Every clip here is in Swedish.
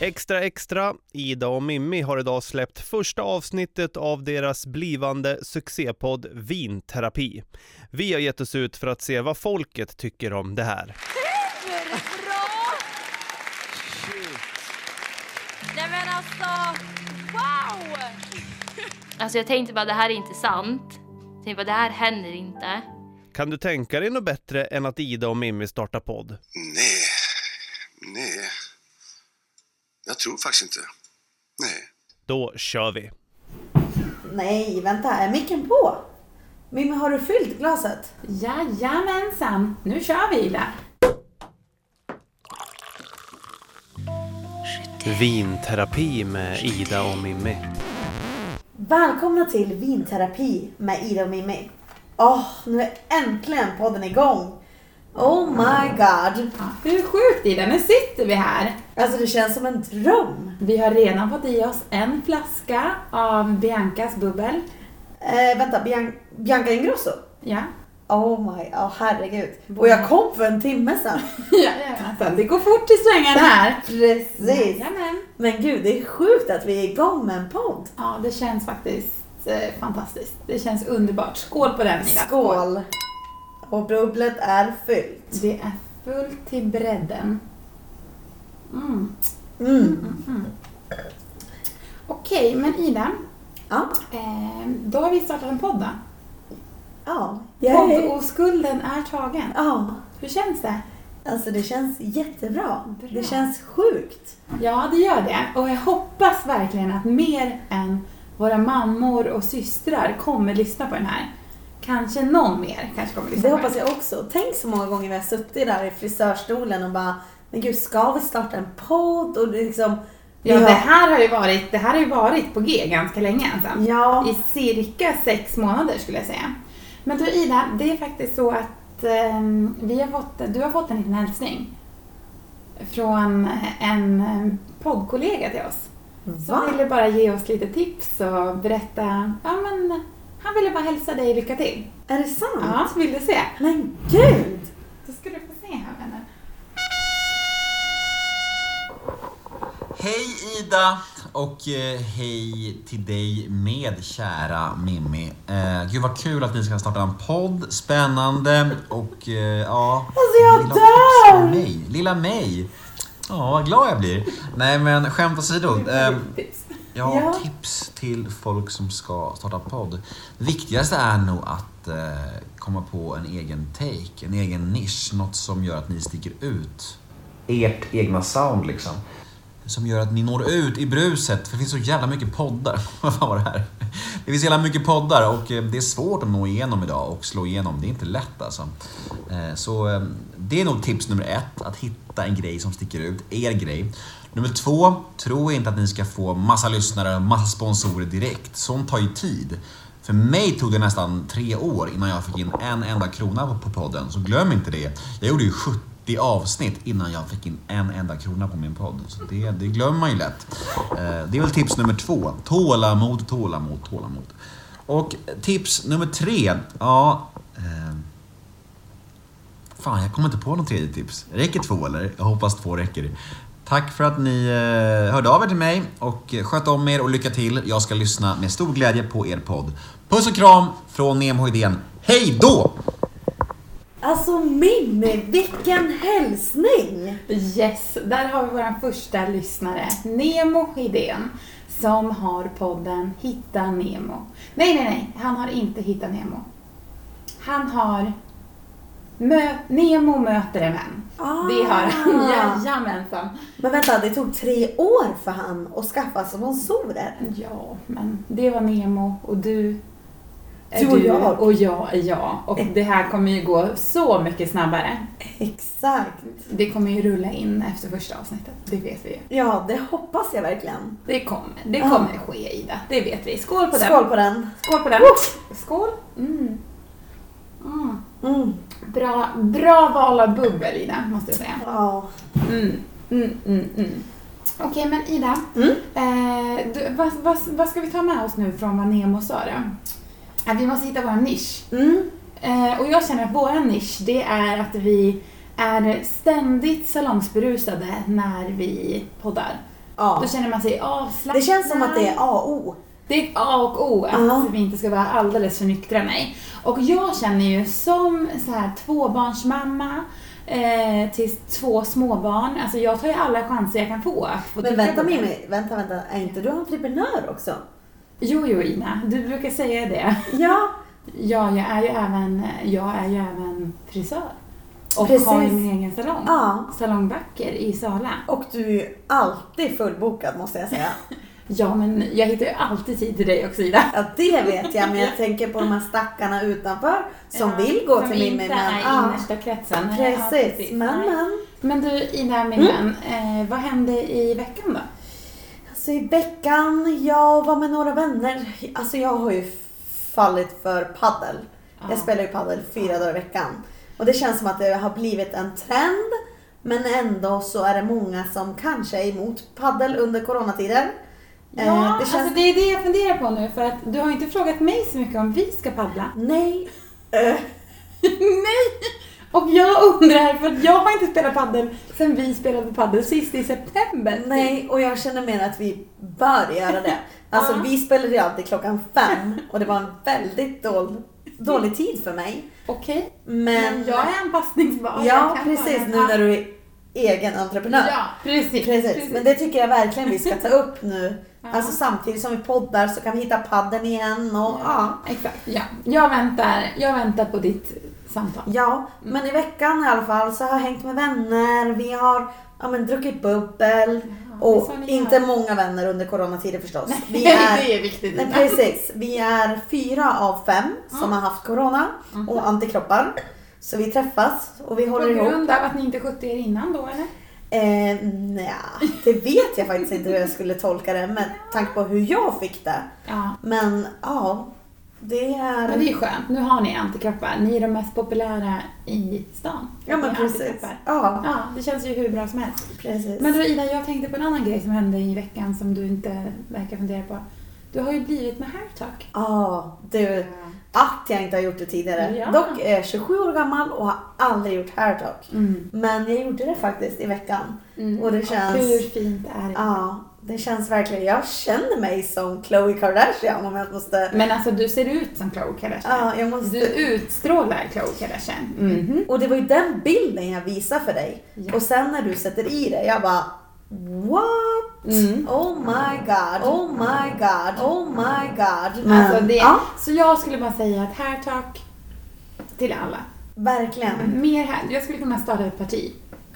Extra Extra, Ida och Mimmi har idag släppt första avsnittet av deras blivande succépodd Vinterapi. Vi har gett oss ut för att se vad folket tycker om det här. Superbra! Nej men alltså, wow! Alltså jag tänkte bara det här är inte sant. Jag tänkte bara det här händer inte. Kan du tänka dig något bättre än att Ida och Mimmi startar podd? Nej, nej. Jag tror faktiskt inte. Nej. Då kör vi! Nej, vänta. Är micken på? Mimmi, har du fyllt glaset? Jajamensan, nu kör vi Ida. Vinterapi med Ida och Mimmi. Välkomna till Vinterapi med Ida och Mimmi. Åh, nu är äntligen podden igång! Oh my god! Ja, hur sjukt Ida, nu sitter vi här. Alltså det känns som en dröm! Vi har redan fått i oss en flaska av Biancas bubbel. Eh, vänta, Bian- Bianca Ingrosso? Ja. Oh my, ja herregud. Och jag kom för en timme sedan. Jajamensan, det går fort i svängarna här. Precis! Jajamän. Men gud, det är sjukt att vi är igång med en podd. Ja, det känns faktiskt eh, fantastiskt. Det känns underbart. Skål på den Ida. Skål! Och bubblet är fyllt. Det är fullt till bredden. Mm. Mm. Okej, men Ida. Ja. Eh, då har vi startat en podd då. Ja. Podd- Poddoskulden är tagen. Ja. Hur känns det? Alltså det känns jättebra. Bra. Det känns sjukt. Ja, det gör det. Och jag hoppas verkligen att mer än våra mammor och systrar kommer lyssna på den här. Kanske någon mer kanske kommer lyssna Det på hoppas den. jag också. Tänk så många gånger vi har suttit där i frisörstolen och bara Men gud, ska vi starta en podd? Och det liksom vi Ja, har- det här har ju varit, det här har ju varit på G ganska länge alltså. ensam. Ja. I cirka sex månader skulle jag säga. Men du Ida, det är faktiskt så att ehm, vi har fått, du har fått en liten hälsning. Från en ehm, poddkollega till oss. Som Va? ville bara ge oss lite tips och berätta. Ja, men han ville bara hälsa dig lycka till. Är det sant? Ja, vill du se? Men gud! Då ska du få se här vännen. Hej Ida och eh, hej till dig med kära Mimmi. Eh, gud vad kul att ni ska starta en podd. Spännande och eh, ja... Alltså, jag Lilla dör! Lilla mig. Lilla mig. Ja, vad glad jag blir. Nej men skämt åsido. Eh, jag har Ja. tips till folk som ska starta podd. Det viktigaste är nog att eh, komma på en egen take, en egen nisch. Något som gör att ni sticker ut. Ert egna sound liksom. Som gör att ni når ut i bruset, för det finns så jävla mycket poddar. Vad fan var det här? Det finns jävla mycket poddar och eh, det är svårt att nå igenom idag och slå igenom. Det är inte lätt alltså. Eh, Så eh, det är nog tips nummer ett, att hitta en grej som sticker ut, er grej. Nummer två, tro inte att ni ska få massa lyssnare och massa sponsorer direkt. Sånt tar ju tid. För mig tog det nästan tre år innan jag fick in en enda krona på- på podden, så glöm inte det. Jag gjorde ju 70 avsnitt innan jag fick in en enda krona på min podd, så det, det glömmer man ju lätt. Eh, Det är väl tips nummer två. Tålamod, tålamod, tålamod. Och tips nummer tre, ja... eh, Fan, jag kommer inte på något tredje tips. Räcker två eller? Jag hoppas två räcker. Tack för att ni eh, hörde av er till mig och eh, sköt om er och lycka till. Jag ska lyssna med stor glädje på er podd. Puss och kram från Nemo Idén. Hej då! Alltså Mimmi, vilken hälsning! Yes, där har vi vår första lyssnare, Nemo Hedén, som har podden Hitta Nemo. Nej, nej, nej, han har inte Hitta Nemo. Han har Mö- Nemo möter en vän. Ah. Det har han, jajamensan. Men vänta, det tog tre år för han att skaffa sponsorer. Ja, men det var Nemo och du är Du och jag. Eh. och jag är jag. Och det här kommer ju gå så mycket snabbare. Exakt. Det kommer ju rulla in efter första avsnittet, det vet vi ju. Ja, det hoppas jag verkligen. Det kommer, det Ja. kommer ske Ida, det vet vi. Skål på den! Skål på den! Skål på den! Skål! Mm. Mm. Mm. Bra, bra val av bubbel Ida, måste jag säga. Ja. Mm. Mm, mm, mm. Okej, men Ida. Mm. Eh, du, vad, vad, vad ska vi ta med oss nu från vad Nemo sa då? Att vi måste hitta vår nisch. Mm. Eh, och jag känner att vår nisch, det är att vi är ständigt salongsberusade när vi poddar. Ja. Då känner man sig avslappnad. Det känns som att det är A och O. Det är A och O att Ja. vi inte ska vara alldeles för nyktra, nej. Och jag känner ju som så här tvåbarnsmamma eh, till två småbarn, alltså jag tar ju alla chanser jag kan få. att få Men titta vänta på det. Mimmi, vänta, vänta. Är inte du entreprenör också? Jo, jo Ina, du brukar säga det. Ja. Ja, jag är ju även, jag är ju även frisör. Och Precis. har ju min egen salong. Ja. Salongbacker i Sala. Och du är ju alltid fullbokad måste jag säga. Ja, men jag hittar ju alltid tid till dig också Ida. Ja, det vet jag. Men jag tänker på de här stackarna utanför som Ja, vill gå till Eh, Som Mimmi. inte men- är Ja, innersta kretsen. Ja, Precis. Men, Nej. men. Men du Ida, min vän, eh, vad hände i veckan då? Alltså i veckan, jag var med några vänner. Alltså jag har ju fallit för paddel. Jag spelar ju paddel fyra dagar i veckan. Och det känns som att det har blivit en trend. Men ändå så är det många som kanske är emot paddel under coronatider. Ja, Eh, det det, känns- alltså, det är det jag funderar på nu för att du har ju inte frågat mig så mycket om vi ska paddla. Nej. Eh, Nej! Och jag undrar, för att jag har inte spelat paddel sen vi spelade paddel sist i september. nej, och jag känner mer att vi bör göra det. Alltså Ja. vi spelade ju alltid klockan fem och det var en väldigt dål, dålig tid för mig. Okej, Men, men jag är anpassningsbar. Jag ja, kan precis. vara- Nu när du är egen entreprenör. Ja, precis. Precis, men det tycker jag verkligen vi ska ta upp nu. Alltså samtidigt som vi poddar så kan vi hitta padden igen och ja. Exakt, ja. Jag väntar, jag väntar på ditt samtal. Ja, Mm. men i veckan i alla fall så har jag hängt med vänner, vi har ja, men, druckit bubbel det är och så ni inte gör. många vänner under coronatider förstås. Vi det är, är viktigt nej, Ina. precis, vi är fyra av fem som har haft corona och antikroppar. Så vi träffas och vi Mm. På håller ihop. grund av att ni inte skötte er innan då eller? Eh, nja, det vet jag faktiskt inte hur jag skulle tolka det med tanke på hur jag fick det. Ja. Men ja, det är... Men det är skönt, nu har ni antikroppar. Ni är de mest populära i stan. ja men Ni har precis. antikroppar. Ja, Ja, det känns ju hur bra som helst. precis. Men du Ida, jag tänkte på en annan grej som hände i veckan som du inte verkar fundera på. Du har ju blivit med Hair Talk. Ja, du. Att jag inte har gjort det tidigare. Ja. Dock är jag 27 år gammal och har aldrig gjort hair talk. Mm. Men jag gjorde det faktiskt i veckan. Och det Hur känns... fint är det? Ja, det känns verkligen... Jag känner mig som Khloe Kardashian om jag måste... Men alltså du ser ut som Khloe Kardashian. Ja, jag måste... Du utstrålar Khloe Kardashian. Mhm. Och det var ju den bilden jag visade för dig. Ja. Och sen när du sätter i det, jag bara What? Mm. Oh my god, oh my god, oh my god. Men, Alltså det, ja, Så jag skulle bara säga att Hair Talk till alla. verkligen. Mer här, jag skulle kunna starta ett parti.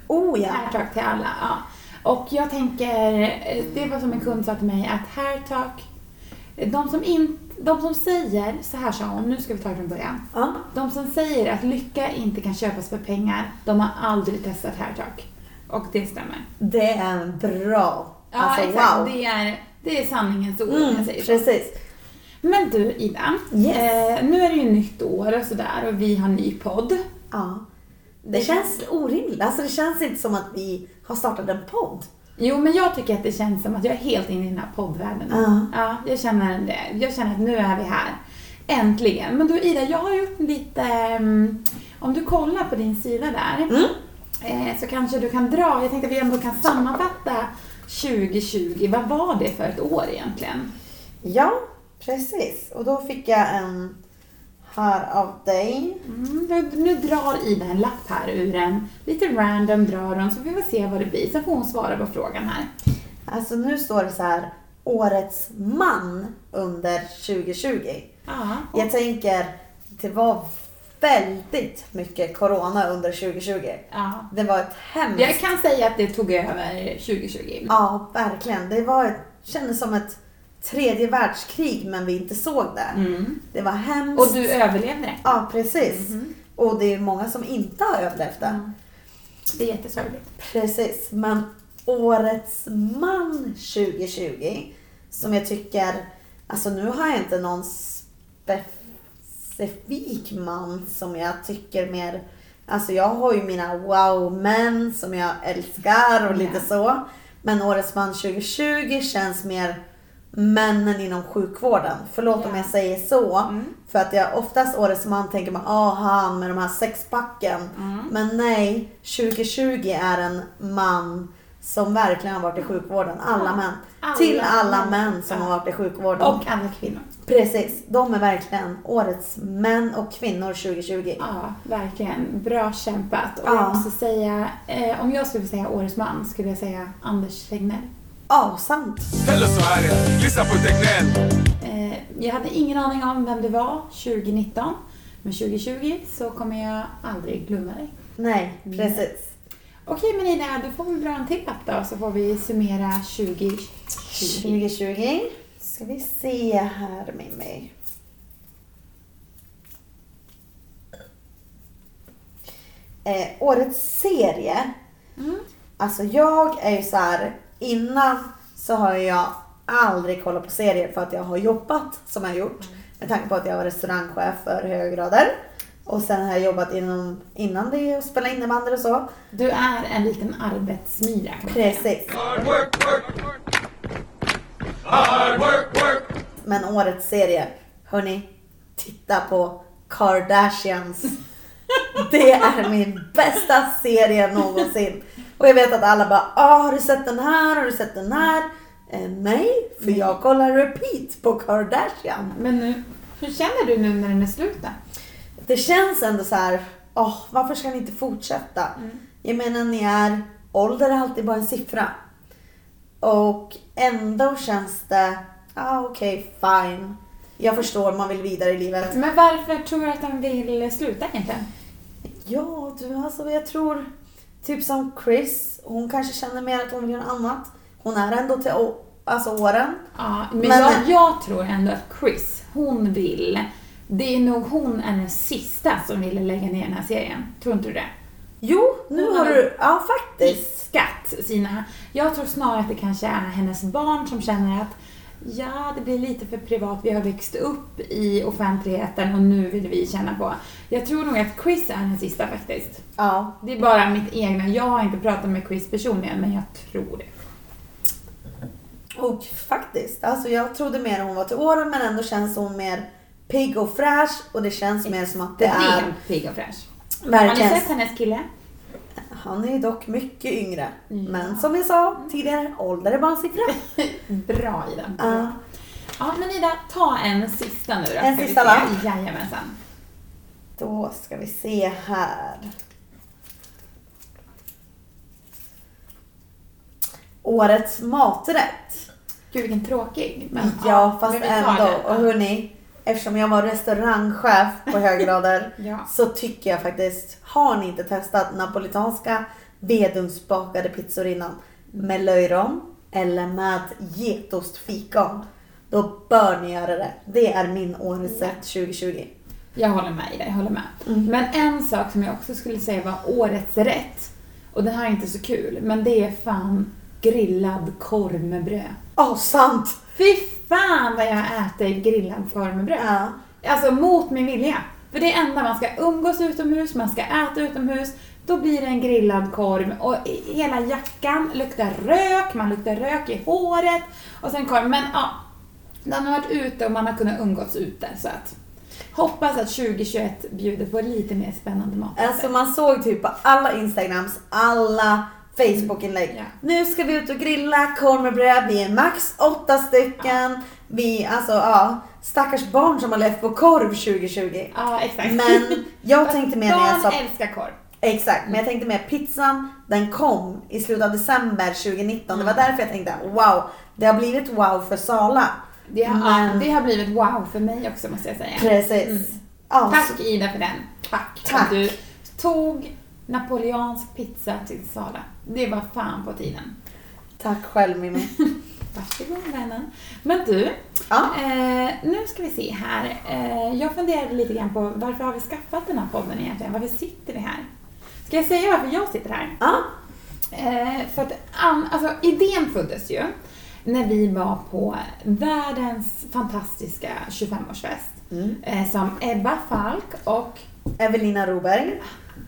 Oh ja. Hair Talk till alla. Ja. Och jag tänker, eh, det var som en kund sa till mig att Hair Talk, eh, de som, in, de som säger, så här sa hon, nu ska vi ta det från början. ja. De som säger att lycka inte kan köpas för pengar, de har aldrig testat Hair Talk. Och det stämmer. Det är en bra. Ja, alltså exakt. wow. Det, är, det är sanningens ord, om Mm, jag säger så. precis. Men du Ida, Yes. eh, nu är det ju nytt år och sådär och vi har ny podd. Ja. Det känns orimligt. Alltså det känns inte som att vi har startat en podd. Jo, men jag tycker att det känns som att jag är helt inne i den här poddvärlden nu. Ja. Ja, jag känner det. Jag känner att nu är vi här. Äntligen. Men du Ida, jag har gjort lite... mm, Om du kollar på din sida där eh, så kanske du kan dra... Jag tänkte att vi ändå kan sammanfatta 2020. Vad var det för ett år egentligen? Ja, precis. Och då fick jag en här av dig. Mm, nu- nu drar Ida en lapp här ur en. Lite random drar hon så vi får se vad det blir. Sen får hon svara på frågan här. Alltså nu står det så här Årets man under 2020. Ja. Jag tänker, det var väldigt mycket corona under 2020. ja. Det var ett hemskt... Jag kan säga att det tog över 2020. Ja, verkligen. Det var ett, kändes som ett tredje världskrig men vi inte såg det. Det var hemskt. Mm. Och du Mhm. överlevde det. Ja, precis. Och det är många som inte har överlevt det. Det är jättesorgligt. Precis, men Årets man 2020 som jag tycker, alltså nu har jag inte någon specifik man som jag tycker mer, alltså jag har ju mina wow-män som jag älskar och lite Ja. så. Men Årets man 2020 känns mer männen inom sjukvården. Förlåt om Ja. Mm. jag säger så. För att jag oftast årets man tänker man, ah han Mm. med de här sexpacken. Men nej, 2020 är en man som verkligen har varit i sjukvården. Alla män. Alla Till alla män. män som Ja. har varit i sjukvården. Och alla kvinnor. Precis, de är verkligen årets män och kvinnor 2020. Ja, verkligen. Bra kämpat. Och Ja. jag måste säga, eh, om jag skulle säga årets man skulle jag säga Anders Regner. Ja, sant. Eller så är det, lyssna på Tegnell. Eh, jag hade ingen aning om vem du var 2019, men 2020 så kommer jag aldrig glömma dig. Nej, Mm. precis. Okej, men Ida, du får väl dra en till lapp då, så får vi summera 2020. 2020. Ska vi se här med mig. Eh, årets serie. Alltså jag är ju så här, innan så har jag aldrig kollat på serier för att jag har jobbat som jag har gjort. Med tanke på att jag var restaurangchef för höga grader. Och sen har jag jobbat inom, innan det och spelat innebandy och så. Du är en liten arbetsmyra. kan man säga. Precis. Hard work, work. Hard work, work. Men årets serie, hörni, titta på Kardashians. Det är min bästa serie någonsin. Och jag vet att alla bara, ah, har du sett den här? Har du sett den här? Eh, nej, för jag kollar repeat på Kardashian. Men nu, hur känner du nu när den är slut då? Det känns ändå så här, åh, varför ska ni inte fortsätta? Jag menar, ni är, ålder är alltid bara en siffra. Och ändå känns det, ah, okej, fine. Jag förstår, man vill vidare i livet. Men varför tror du att de vill sluta egentligen? Ja, du, alltså jag tror typ som Chris. Hon kanske känner mer att hon vill göra annat. Hon är ändå till å- alltså åren. Ja, men, Men- jag, jag tror ändå att Chris, hon vill... Det är nog hon är den sista som ville lägga ner den här serien. Tror inte du det? Jo, nu Hon har har- du... Ja, faktiskt. Fiskat sina... Jag tror snarare att det kanske är hennes barn som känner att ja, det blir lite för privat. Vi har växt upp i offentligheten och nu vill vi känna på... Jag tror nog att Chris är den sista faktiskt. Ja. Det är bara mitt egna. Jag har inte pratat med Chris personligen, men jag tror det. Och faktiskt, alltså jag trodde mer hon var till åren men ändå känns hon mer pigg och fräsch och det känns mer som att det är... Extremt pigg och fräsch. Har ni Verkligen. sett hennes kille? Han är ju dock mycket yngre. Men som jag sa tidigare, ålder är bara en siffra. Bra Ida. Ja. Ja men Ida, ta en sista nu då. En ska vi sista se. lapp. Jajamensan. Då ska vi se här. Årets maträtt. Gud vilken tråkig. Men, Mm, Ja, fast men vi tar ändå. det. Och hörni, eftersom jag var restaurangchef på höggrader Ja. så tycker jag faktiskt, har ni inte testat napolitanska vedugnsbakade pizzor innan med löjrom eller med getostfikon, då bör ni göra det. Det är min årets rätt 2020. Jag håller med Ida, jag håller med. Mm. Men en sak som jag också skulle säga var årets rätt. Och det här är inte så kul, men det är fan grillad korv med bröd. Åh, sant! Fy fan vad jag äter grillad korv med bröd. Ja. Alltså mot min vilja. För det är enda man ska umgås utomhus, man ska äta utomhus. Då blir det en grillad korv och i- hela jackan luktar rök, man luktar rök i håret och sen korv. Men ja, man har varit ute och man har kunnat umgås ute. Så att hoppas att 2021 bjuder på lite mer spännande mat. Alltså man såg typ på alla Instagrams, alla Facebookinlägg. Ja. Nu ska vi ut och grilla korv med bröd. Vi är max åtta stycken. Vi, alltså ja, stackars barn som har levt på korv 2020. Ja, exakt. Men jag tänkte mer när jag sa, Barn älskar korv. exakt, men jag tänkte mer pizzan, den kom i slutet av december 2019. Det Mm. var därför jag tänkte wow, det har blivit wow för Sala. Det har, Men- det har blivit wow för mig också måste jag säga. Precis. Alltså, Ja, så- Mm. Tack Ida för den. Tack. Tack. Att du tog napoleansk pizza till Sala. Det var fan på tiden. tack själv Mimmi. Varsågod vännen. Men du, Ja. eh, nu ska vi se här. Eh, jag funderade lite grann på varför har vi skaffat den här podden egentligen? Varför sitter vi här? Ska jag säga varför jag sitter här? Ja, Eh, för att an, alltså, idén föddes ju när vi var på världens fantastiska 25-årsfest Mm. eh, som Ebba Falk och Evelina Roberg.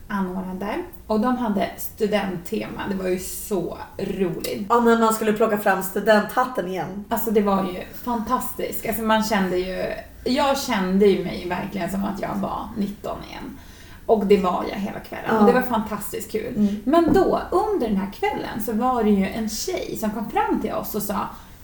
anordnade och de hade studenttema. Det var ju så roligt. Ja, när man skulle plocka fram studenthatten igen. Alltså det var ju fantastiskt. Alltså man kände ju, jag kände ju mig verkligen som att jag var 19 igen. Och det var jag hela kvällen. Ja. Och det var fantastiskt kul. Men då, under den här kvällen, så var det ju en tjej som kom fram till oss och sa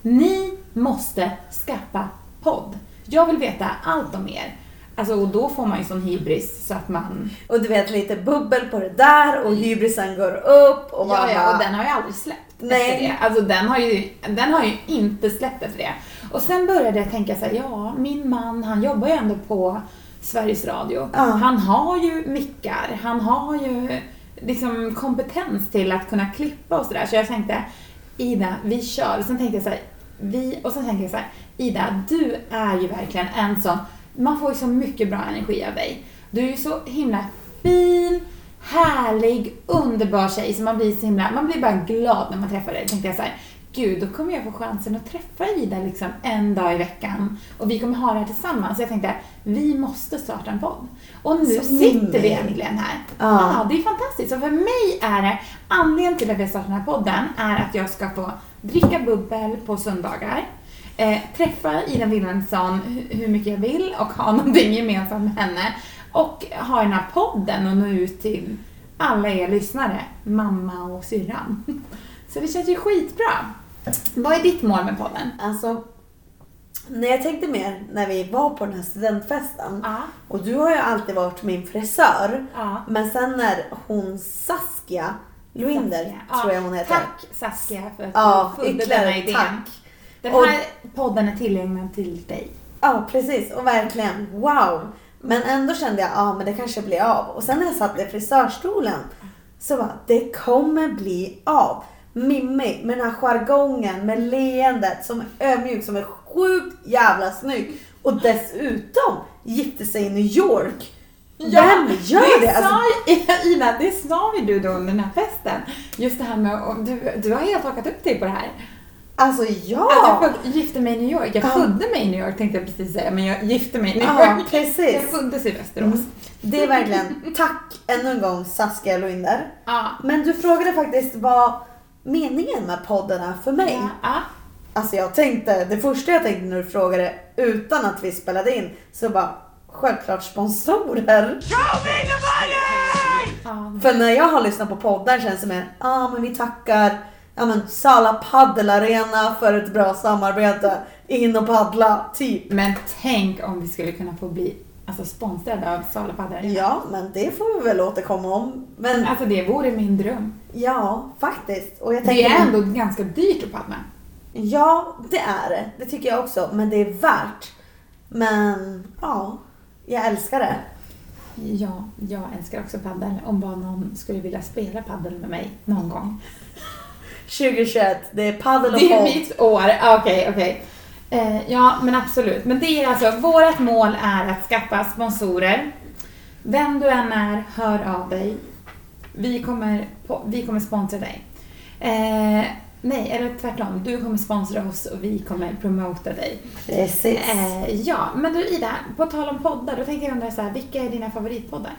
Ni måste skaffa podd. Jag vill veta allt om er. Alltså, och då får man ju sån hybris så att man... Och du vet lite bubbel på det där och hybrisen går upp och man Mm. Ja, ja, och bara- den har ju aldrig släppt Nej. efter det. Alltså den har, ju, den har ju inte släppt efter det. Och sen började jag tänka så här, ja, min man han jobbar ju ändå på Sveriges Radio. Ja. Han har ju mickar, han har ju liksom kompetens till att kunna klippa och sådär. Så jag tänkte, Ida, vi kör. Och sen tänkte jag så här, vi, och sen tänkte jag så här, Ida, du är ju verkligen en sån, man får ju så mycket bra energi av dig. Du är ju så himla fin, härlig, underbar tjej så man blir så himla, man blir bara glad när man träffar dig. Då tänkte jag så här, gud då kommer jag få chansen att träffa Ida liksom en dag i veckan och vi kommer ha det här tillsammans. Så jag tänkte, vi måste starta en podd. Och nu Så sitter vi mysigt. äntligen här. Ja. Ja, det är fantastiskt. Så för mig är det, anledningen till att jag startar den här podden är att jag ska få dricka bubbel på söndagar, eh, träffa Ida Wilhelmsson hu- hur mycket jag vill och ha någonting gemensamt med henne och ha den här podden och nå ut till alla er lyssnare, mamma och syrran. Så det känns ju skitbra. Vad är ditt mål med podden? Alltså, när jag tänkte mer när vi var på den här studentfesten. Ja. Och du har ju alltid varit min frisör. Ja. Men sen när hon Saskia Luinder, Ja, tror jag hon heter. Tack Saskia för att Ja, du födde ytterligare denna idén. tack. Den Och- här podden är tillägnad till dig. Ja, precis. Och verkligen, wow. Men ändå kände jag, ja men det kanske blir av. Och sen när jag satt i frisörstolen så bara, det kommer bli av. Mimmi med den här jargongen, med leendet som är ödmjuk, som är sjukt jävla snygg. Och dessutom gifte sig i New York. Vem gör det? Alltså, sa ju, Ina, det sa ju du då under den här festen. Just det här med att du, du har helt hakat upp dig på det här. alltså ja! Att jag föd- gifte mig i New York. Jag Ja. födde mig i New York tänkte jag precis säga, men jag gifte mig i New Ja, York. Ah, precis. Jag föddes i Västerås. Mm. Det är verkligen tack ännu en gång Saskia Loinder. Ja. Men du frågade faktiskt vad meningen med podden är för mig. Ja, ja. Alltså jag tänkte, det första jag tänkte när du frågade utan att vi spelade in så bara självklart sponsorer. Ja. För när jag har lyssnat på poddar känns det mer, ja ah, men vi tackar ja, men Sala paddelarena för ett bra samarbete. In och paddla, typ. Men tänk om vi skulle kunna få bli alltså, sponsrade av Salapadder. Ja, men det får vi väl återkomma om. Men Alltså det vore min dröm. ja, faktiskt. Och jag Det tänker, är ändå ganska dyrt att paddla. Ja, det är det. Det tycker jag också. Men det är värt. Men ja, jag älskar det. Ja, jag älskar också paddel. Om bara någon skulle vilja spela paddel med mig någon gång. 2021, det är padel och Det är podd. mitt år. Ah, Okej, okej. Eh, ja, men absolut. Men det är alltså, vårt mål är att skaffa sponsorer. Vem du än är, hör av dig. Vi kommer, på, vi kommer sponsra dig. Eh, nej, eller tvärtom. Du kommer sponsra oss och vi kommer promota dig. Precis. Eh, ja, men du Ida, på tal om poddar, då tänkte jag undra så här, vilka är dina favoritpoddar?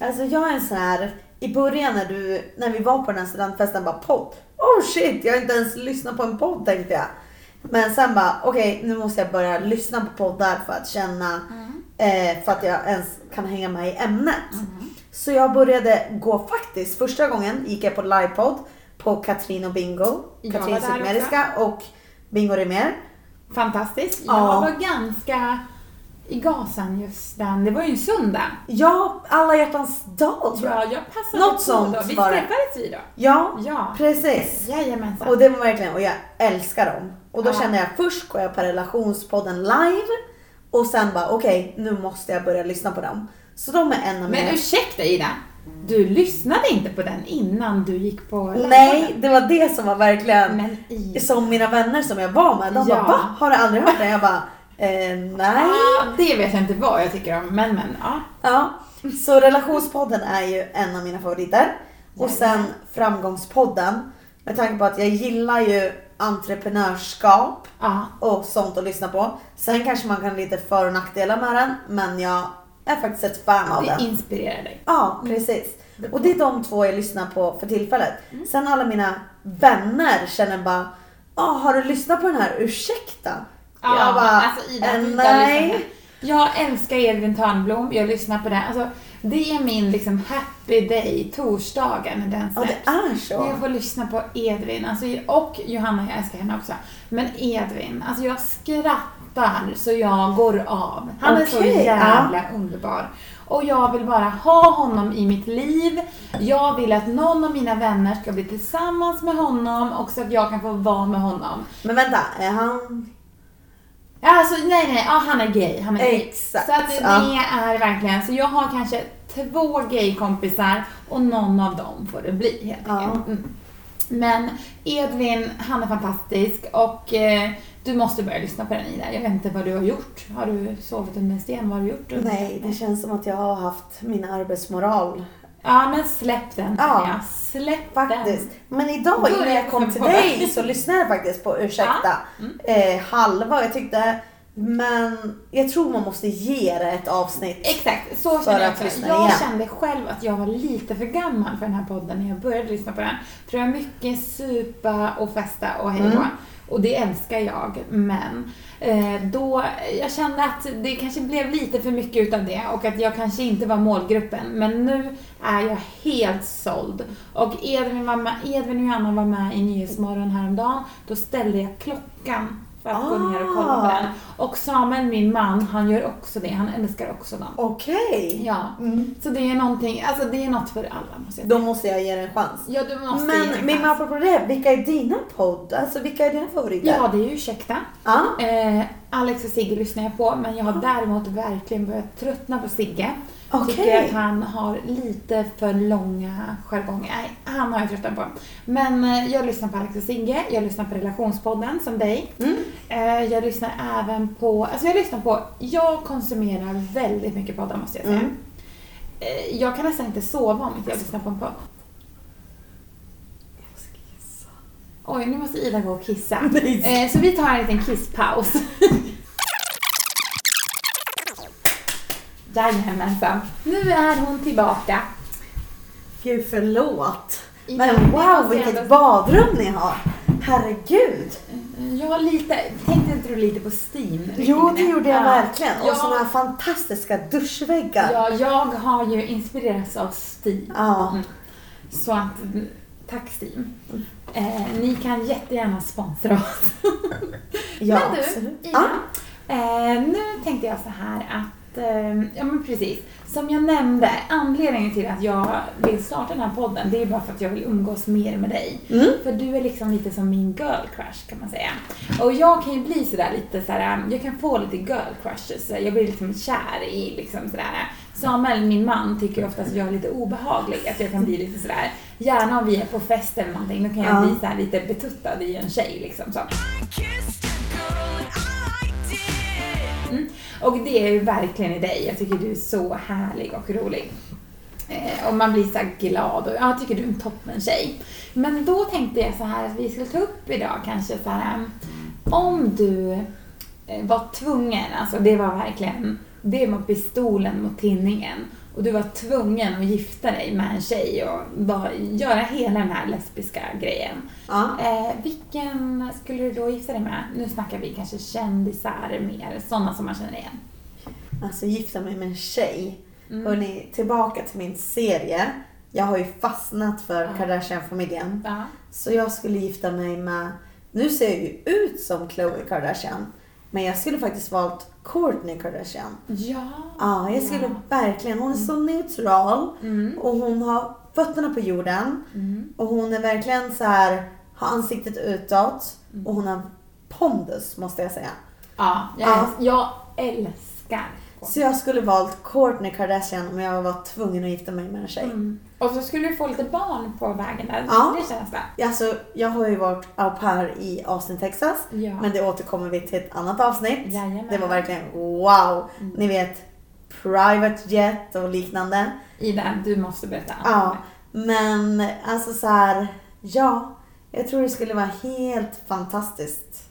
Alltså jag är en sån här, i början när, du, när vi var på den här studentfesten bara podd. Oh shit, jag har inte ens lyssnat på en podd tänkte jag. Men sen bara, okej nu måste jag börja lyssna på poddar för att känna, Mm. eh, för att jag ens kan hänga med i ämnet. Mm. Så jag började gå faktiskt, första gången gick jag på livepodd på Katrin och Bingo. Jag var Katrin där också. Zytomierska och Bingo Rimér. Fantastiskt. Jag Ja. var ganska i gasen just den, det var ju en söndag. Ja, alla hjärtans dag tror jag. Ja, jag passade Något på sånt då. Vi var det. träffades vi då. Ja, Ja. precis. Jajamensan. Och det var verkligen, och jag älskar dem. Och då Ja. kände jag först går jag på relationspodden live och sen bara okej, nu måste jag börja lyssna på dem. Så de är en av Men mina... ursäkta Ida, du lyssnade inte på den innan du gick på Nej, det var det som var verkligen Men i- som mina vänner som jag var med, de Ja. Ah, bara va? Har du aldrig hört det? Jag bara eh, nej. Ja, det vet jag inte vad jag tycker om, men men ja. Ja, så relationspodden är ju en av mina favoriter. Och sen framgångspodden med tanke på att jag gillar ju entreprenörskap ja. och sånt att lyssna på. Sen kanske man kan ha lite för och nackdelar med den, men jag är faktiskt ett fan av Det den. inspirerar dig. Ja, precis. Och det är de två jag lyssnar på för tillfället. Mm. Sen alla mina vänner känner bara, ja har du lyssnat på den här? Ursäkta? jag bara, alltså Ida, "Eh, Ida lyssnar på nej. det. Jag älskar Edvin Törnblom, jag lyssnar på den. Alltså, Det är min liksom happy day, torsdagen när den Ja, släpps. det är så. Alltså, Jag får lyssna på Edvin alltså, och Johanna, jag älskar henne också. Men Edvin, alltså jag skrattar så jag går av. Han är så Okej, ja. jävla underbar. Och jag vill bara ha honom i mitt liv. Jag vill att någon av mina vänner ska bli tillsammans med honom och så att jag kan få vara med honom. Men vänta, är han... Alltså nej, nej, ja, han är gay. Han är gay. Exakt, Så att det ja. är verkligen, så jag har kanske två gaykompisar och någon av dem får det bli helt Ja. enkelt. Mm. Men Edvin, han är fantastisk och eh, du måste börja lyssna på den Ida. Jag vet inte vad du har gjort. Har du sovit under en sten? Vad har du gjort? under Nej, det natten? känns som att jag har haft min arbetsmoral. Ja, men släpp den. Ja. Ja. Släpp Faktiskt. den. Men idag Börja innan jag kom till komma på. dig så lyssnade jag faktiskt på Ursäkta eh, halva. Jag tyckte, men jag tror man måste ge det ett avsnitt. Exakt, För så kände jag att också. lyssna Jag igen. kände själv att jag var lite för gammal för den här podden när jag började lyssna på den. För det var mycket supa och festa och hej mm. Och det älskar jag, men eh, då, jag kände att det kanske blev lite för mycket utav det och att jag kanske inte var målgruppen. Men nu är jag helt såld. Och Edvin, var med, Edvin och Johanna var med i Nyhetsmorgon häromdagen. Då ställde jag klockan för att gå ner och kolla på Ah. den. Och Samuel, min man, han gör också det. Han älskar också dem. Okej, Ja, så det är någonting, alltså det är något för alla måste jag då säga. måste jag ge det en chans. Ja, du måste ge det Men, en men chans. apropå det, vilka är dina podd? Alltså vilka är dina favoriter? Ja, det är ju ursäkta. Ja. Eh, Alex och Sigge lyssnar jag på, men jag har däremot verkligen börjat tröttna på Sigge. Okej. Tycker att han har lite för långa jargonger. Nej, han har jag tröttnat på. Men eh, jag lyssnar på Alex och Sigge, jag lyssnar på Relationspodden som dig. Eh, jag lyssnar även på, alltså jag lyssnar på, jag konsumerar väldigt mycket poddar måste jag säga. Eh, Jag kan nästan inte sova om inte jag lyssnar på en podd. Oj, nu måste Ida gå och kissa. Nej. Eh, så vi tar en liten kisspaus. Jajamensan. Nu är hon tillbaka. Gud förlåt. Ja, Men det måste wow jag vilket ändå- badrum ni har. Herregud. Eh, Jag har lite, tänkte inte du lite på Steam? Jo det gjorde jag Ja. verkligen. Och Ja. såna här fantastiska duschväggar. Ja, jag har ju inspirerats av Steam. Ja. Mm. Så att, mm, tack Steam. Eh, ni kan jättegärna sponsra oss. Ja, men absolut. du, Ida. Eh, nu tänkte jag så här att, eh, ja men precis. Som jag nämnde, anledningen till att jag vill starta den här podden, det är ju bara för att jag vill umgås mer med dig. Mm. För du är liksom lite som min girl crush kan man säga. Och jag kan ju bli sådär lite sådär, jag kan få lite girl crushes, jag blir liksom kär i liksom sådär. Samuel, min man, tycker ju ofta att jag är lite obehaglig, att jag kan bli lite sådär, gärna om vi är på fest eller någonting, då kan jag Ja. bli såhär lite betuttad i en tjej liksom så. Mm. Och det är ju verkligen i dig. Jag tycker du är så härlig och rolig. Eh, och man blir så här glad och jag tycker du är en toppen tjej. Men då tänkte jag så här att vi skulle ta upp idag kanske så här eh, om du eh, var tvungen, alltså det var verkligen, det var pistolen mot tinningen och du var tvungen att gifta dig med en tjej och bara göra hela den här lesbiska grejen. Ja. Eh, vilken skulle du då gifta dig med? Nu snackar vi kanske kändisar mer, sådana som man känner igen. Alltså gifta mig med en tjej. Mm. Hörrni, tillbaka till min serie. Jag har ju fastnat för Kardashian-familjen. Ja. Så jag skulle gifta mig med, nu ser jag ju ut som Khloe Kardashian. Men jag skulle faktiskt valt Kourtney Kardashian. Ja. Mm. Ja, jag skulle verkligen. Hon är så neutral och hon har fötterna på jorden. Mm. Och hon är verkligen så här, har ansiktet utåt och hon har pondus måste jag säga. Ja, jag, Ja. jag älskar Så jag skulle valt Kourtney Kardashian om jag var tvungen att gifta mig med en tjej. Mm. Och så skulle du få lite barn på vägen där. Ja. Det känns det. Alltså, jag har ju varit au pair i Austin, Texas. Ja. Men det återkommer vi till ett annat avsnitt. Jajamän. Mm. Det var verkligen wow! Ni vet, private jet och liknande. Ida, du måste berätta. Ja, men alltså så här, ja. Jag tror det skulle vara helt fantastiskt.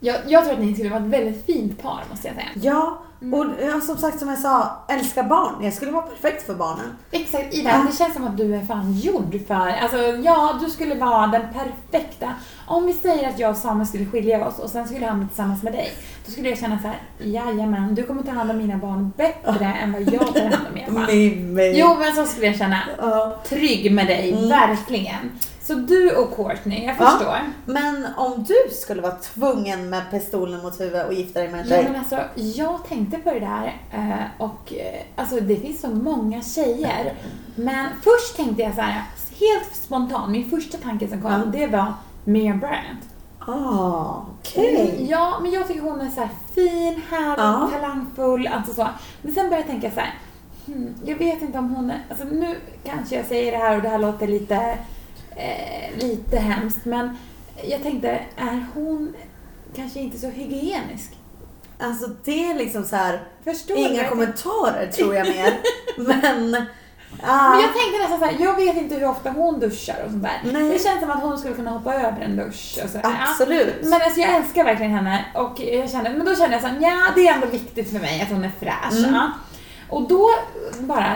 Jag, jag tror att ni skulle vara ett väldigt fint par måste jag säga. Ja, Och ja, som sagt som jag sa, älska barn. Jag skulle vara perfekt för barnen. Exakt, Ida, det känns som att du är fan gjord för... Alltså, ja, du skulle vara den perfekta. Om vi säger att jag och Samuel skulle skilja oss och sen skulle han bli tillsammans med dig. Då skulle jag känna så här, jajamän, du kommer ta hand om mina barn bättre än vad jag tar hand om mina barn. Mimmi. Jo, men så skulle jag känna. Ja. Trygg med dig, verkligen. Så du och Courtney, jag Mm. Ja. förstår. Men om du skulle vara tvungen med pistolen mot huvudet och gifta dig med en Ja, men tjej. alltså, jag tänkte på det där eh, och eh, alltså, det finns så många tjejer. Men först tänkte jag så här, helt spontant, min första tanke som kom, Ja. det var Mia Bryant. Ah, okej. Mm, Ja, men jag tycker hon är så här fin, härlig, Ja. talangfull, alltså så. Men sen började jag tänka så här, hmm, jag vet inte om hon är, alltså nu kanske jag säger det här och det här låter lite, eh, lite hemskt, men jag tänkte, är hon kanske inte så hygienisk? Alltså det är liksom så här. Förstår du? Inga kommentarer tror jag mer. Men... Ah, Men jag tänkte nästan såhär, jag vet inte hur ofta hon duschar och sånt där. Nej. Det känns som att hon skulle kunna hoppa över en dusch. Och så. Ja. absolut. Men alltså jag älskar verkligen henne och jag kände, men då kände jag såhär, ja det är ändå viktigt för mig att hon är fräsch. Ja. Och då bara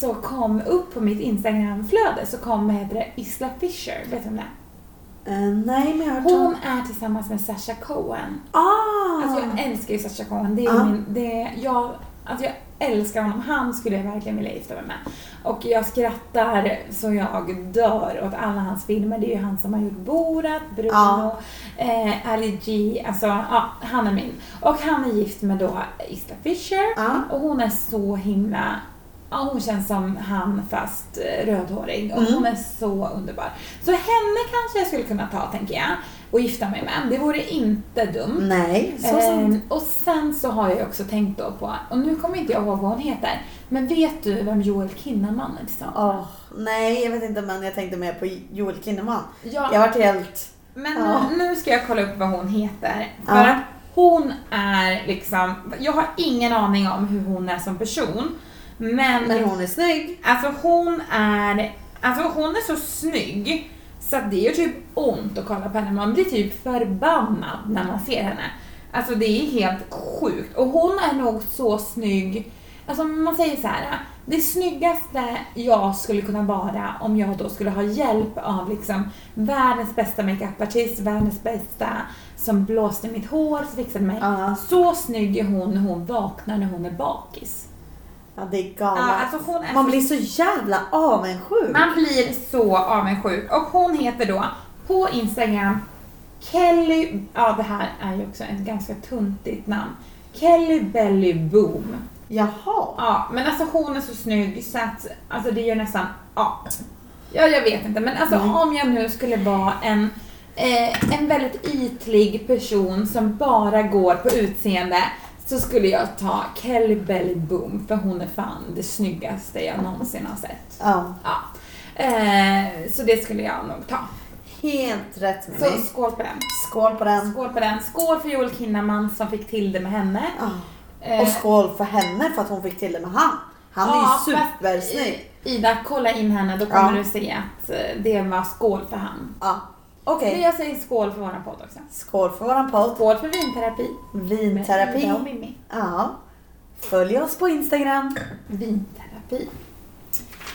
så kom upp på mitt Instagramflöde så kom, vad heter det, Isla Fisher, vet du vem det är? Eh, nej men jag har hört Hon om... är tillsammans med Sasha Cohen. Ah! Alltså jag älskar ju Sacha Cohen. Det är Ja. min, det är, jag, alltså jag älskar honom. Han skulle jag verkligen vilja gifta mig med. Och jag skrattar så jag dör åt alla hans filmer. Det är ju han som har gjort Borat, Bruno, Ja. eh, Ali G. Alltså, ja, han är min. Och han är gift med då Isla Fisher. Ja. Och hon är så himla Ja, hon känns som han fast eh, rödhårig och hon är så underbar. Så henne kanske jag skulle kunna ta tänker jag och gifta mig med. Det vore inte dumt. Nej, så sant. Ehm, och sen så har jag ju också tänkt då på, och nu kommer inte jag ihåg vad hon heter, men vet du vem Joel Kinnaman är tillsammans med? Åh, nej, jag vet inte men jag tänkte mer på Joel Kinnaman. Ja, Jag vart helt... men Ja. nu- nu ska jag kolla upp vad hon heter. För Ja. att hon är liksom, jag har ingen aning om hur hon är som person, men, Men hon är snygg. alltså hon är, alltså hon är så snygg så att det gör typ ont att kolla på henne. Man blir typ förbannad när man ser henne. Alltså det är helt sjukt. Och hon är nog så snygg. Alltså man säger så här. Det snyggaste jag skulle kunna vara om jag då skulle ha hjälp av liksom världens bästa makeupartist, världens bästa som blåste mitt hår, som fixade mig. Ja. Så snygg är hon när hon vaknar när hon är bakis. Ja, det är galet. Ja, alltså hon är Man så- blir så jävla avundsjuk. man blir så avundsjuk. Och hon heter då på Instagram Kelly... Ja, det här är ju också ett ganska tuntigt namn. Kelly Belly Boom. Jaha. Ja, men alltså hon är så snygg så att alltså det gör nästan... Ja, ja jag vet inte. Men alltså om jag nu skulle vara en, eh, en väldigt ytlig person som bara går på utseende så skulle jag ta Kelly Belly Boom för hon är fan det snyggaste jag någonsin har sett. Ja, Ja. Eh, så det skulle jag nog ta. helt rätt Så Mimmi. skål på den. Skål på den. Skål på den. Skål för Joel Kinnaman som fick till det med henne. Ja. Eh, Och skål för henne för att hon fick till det med han. Han är ja, ju supersnygg. fast, eh, Ida, kolla in henne. Då kommer Ja. du se att eh, det var skål för han. Ja. Okej, Men jag säger skål för våran podd också. skål för våran podd. Skål för vinterapi. Med Vinterapi. Ida och Mimmi. Ja. Följ oss på Instagram. Vinterapi.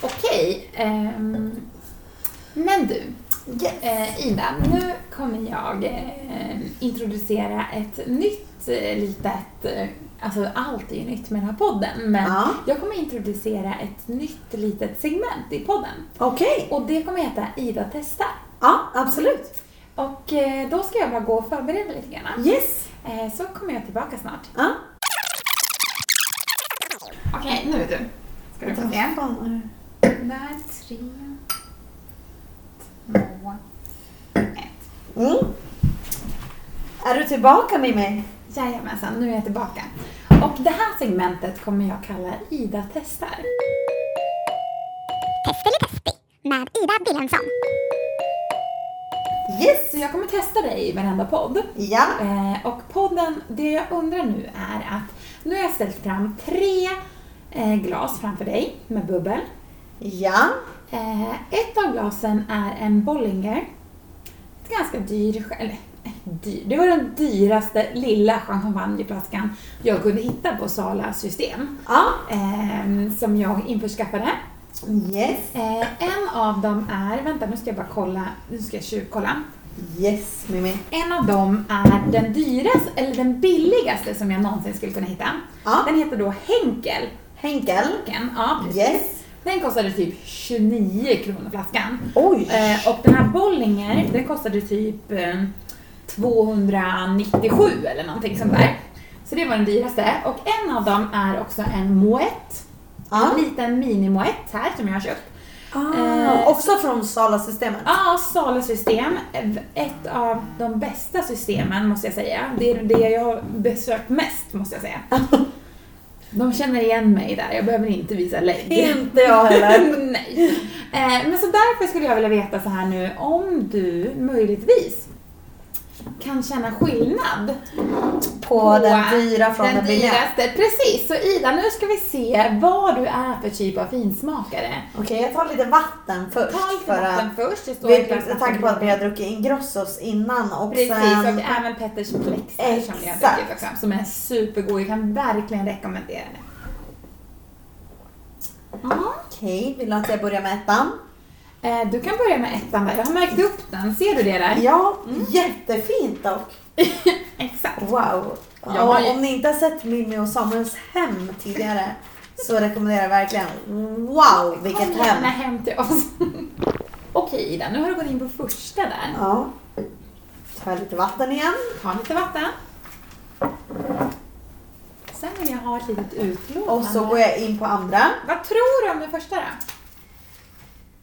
Okej. ehm, men du. Eh, Ida, nu kommer jag eh, introducera ett nytt eh, litet, eh, alltså allt är ju nytt med den här podden, men Ja. jag kommer introducera ett nytt litet segment i podden. Okej. Och det kommer heta Ida testar. Ja, absolut. Och eh, då ska jag bara gå och förbereda lite grann. Yes. Eh, så kommer jag tillbaka snart. Ja. Okej, nu du. Ska du få se. Där, tre, två, ett. Mm. Är du tillbaka Mimmi? Jajamensan, nu är jag tillbaka. Och det här segmentet kommer jag kalla Ida testar. Yes. Så jag kommer testa dig i varenda podd. Ja. Eh, och podden, det jag undrar nu är att nu har jag ställt fram tre eh, glas framför dig med bubbel. Ja. Eh, ett av glasen är en Bollinger. Ett ganska dyr, sk- eller eh, dyr. Det var den dyraste lilla champagneflaskan jag kunde hitta på Sala system. Ja. Ehm, som jag införskaffade. Yes. Eh, en av dem är, vänta nu ska jag bara kolla, nu ska jag tjuvkolla. Yes, Mimmi. En av dem är den dyraste, eller den billigaste som jag någonsin skulle kunna hitta. Ja. Den heter då Henkel. Henkel. Henken, ja, precis. Yes. Den kostade typ 29 kronor flaskan. Oj. Eh, och den här Bollinger, den kostade typ eh, 297 eller någonting sånt där. Så det var den dyraste. Och en av dem är också en moët. Ja. En liten mini-moët här som jag har köpt. Ah, också från Sala-systemet. eh, Ja, Salesystem. Ett av de bästa systemen måste jag säga. Det är det jag har besökt mest måste jag säga. De känner igen mig där, jag behöver inte visa lägg. Inte jag heller. Nej. Eh, Men så därför skulle jag vilja veta så här nu, om du möjligtvis kan känna skillnad På den dyra från den, den billiga. dyraste. Precis, så Ida nu ska vi se vad du är för typ av finsmakare. Okej, jag tar lite vatten först. Ta lite för vatten att, först. det står vi, ett glas med vatten tanke på att vi har druckit Ingrossos innan och Precis, sen... och även Petters Plex där som jag har Exakt. druckit också, som är supergod. Jag kan verkligen rekommendera den. Ja. Okej, vill du att jag börjar med ettan? Eh, Du kan börja med ettan där. Jag har märkt upp den. Ser du det där? Ja, Mm. jättefint dock. Exakt. Wow. Jag har ju- Ja, om ni inte har sett Mimmi och Samuels hem tidigare så rekommenderar jag verkligen. Wow, vilket Kom gärna hem. hem till oss. Okej Ida, nu har du gått in på första där. Ja. Tar lite vatten igen. Ta lite vatten. Sen vill jag ha ett litet utlåtande. Och så går jag in på andra. Vad tror du om den första då?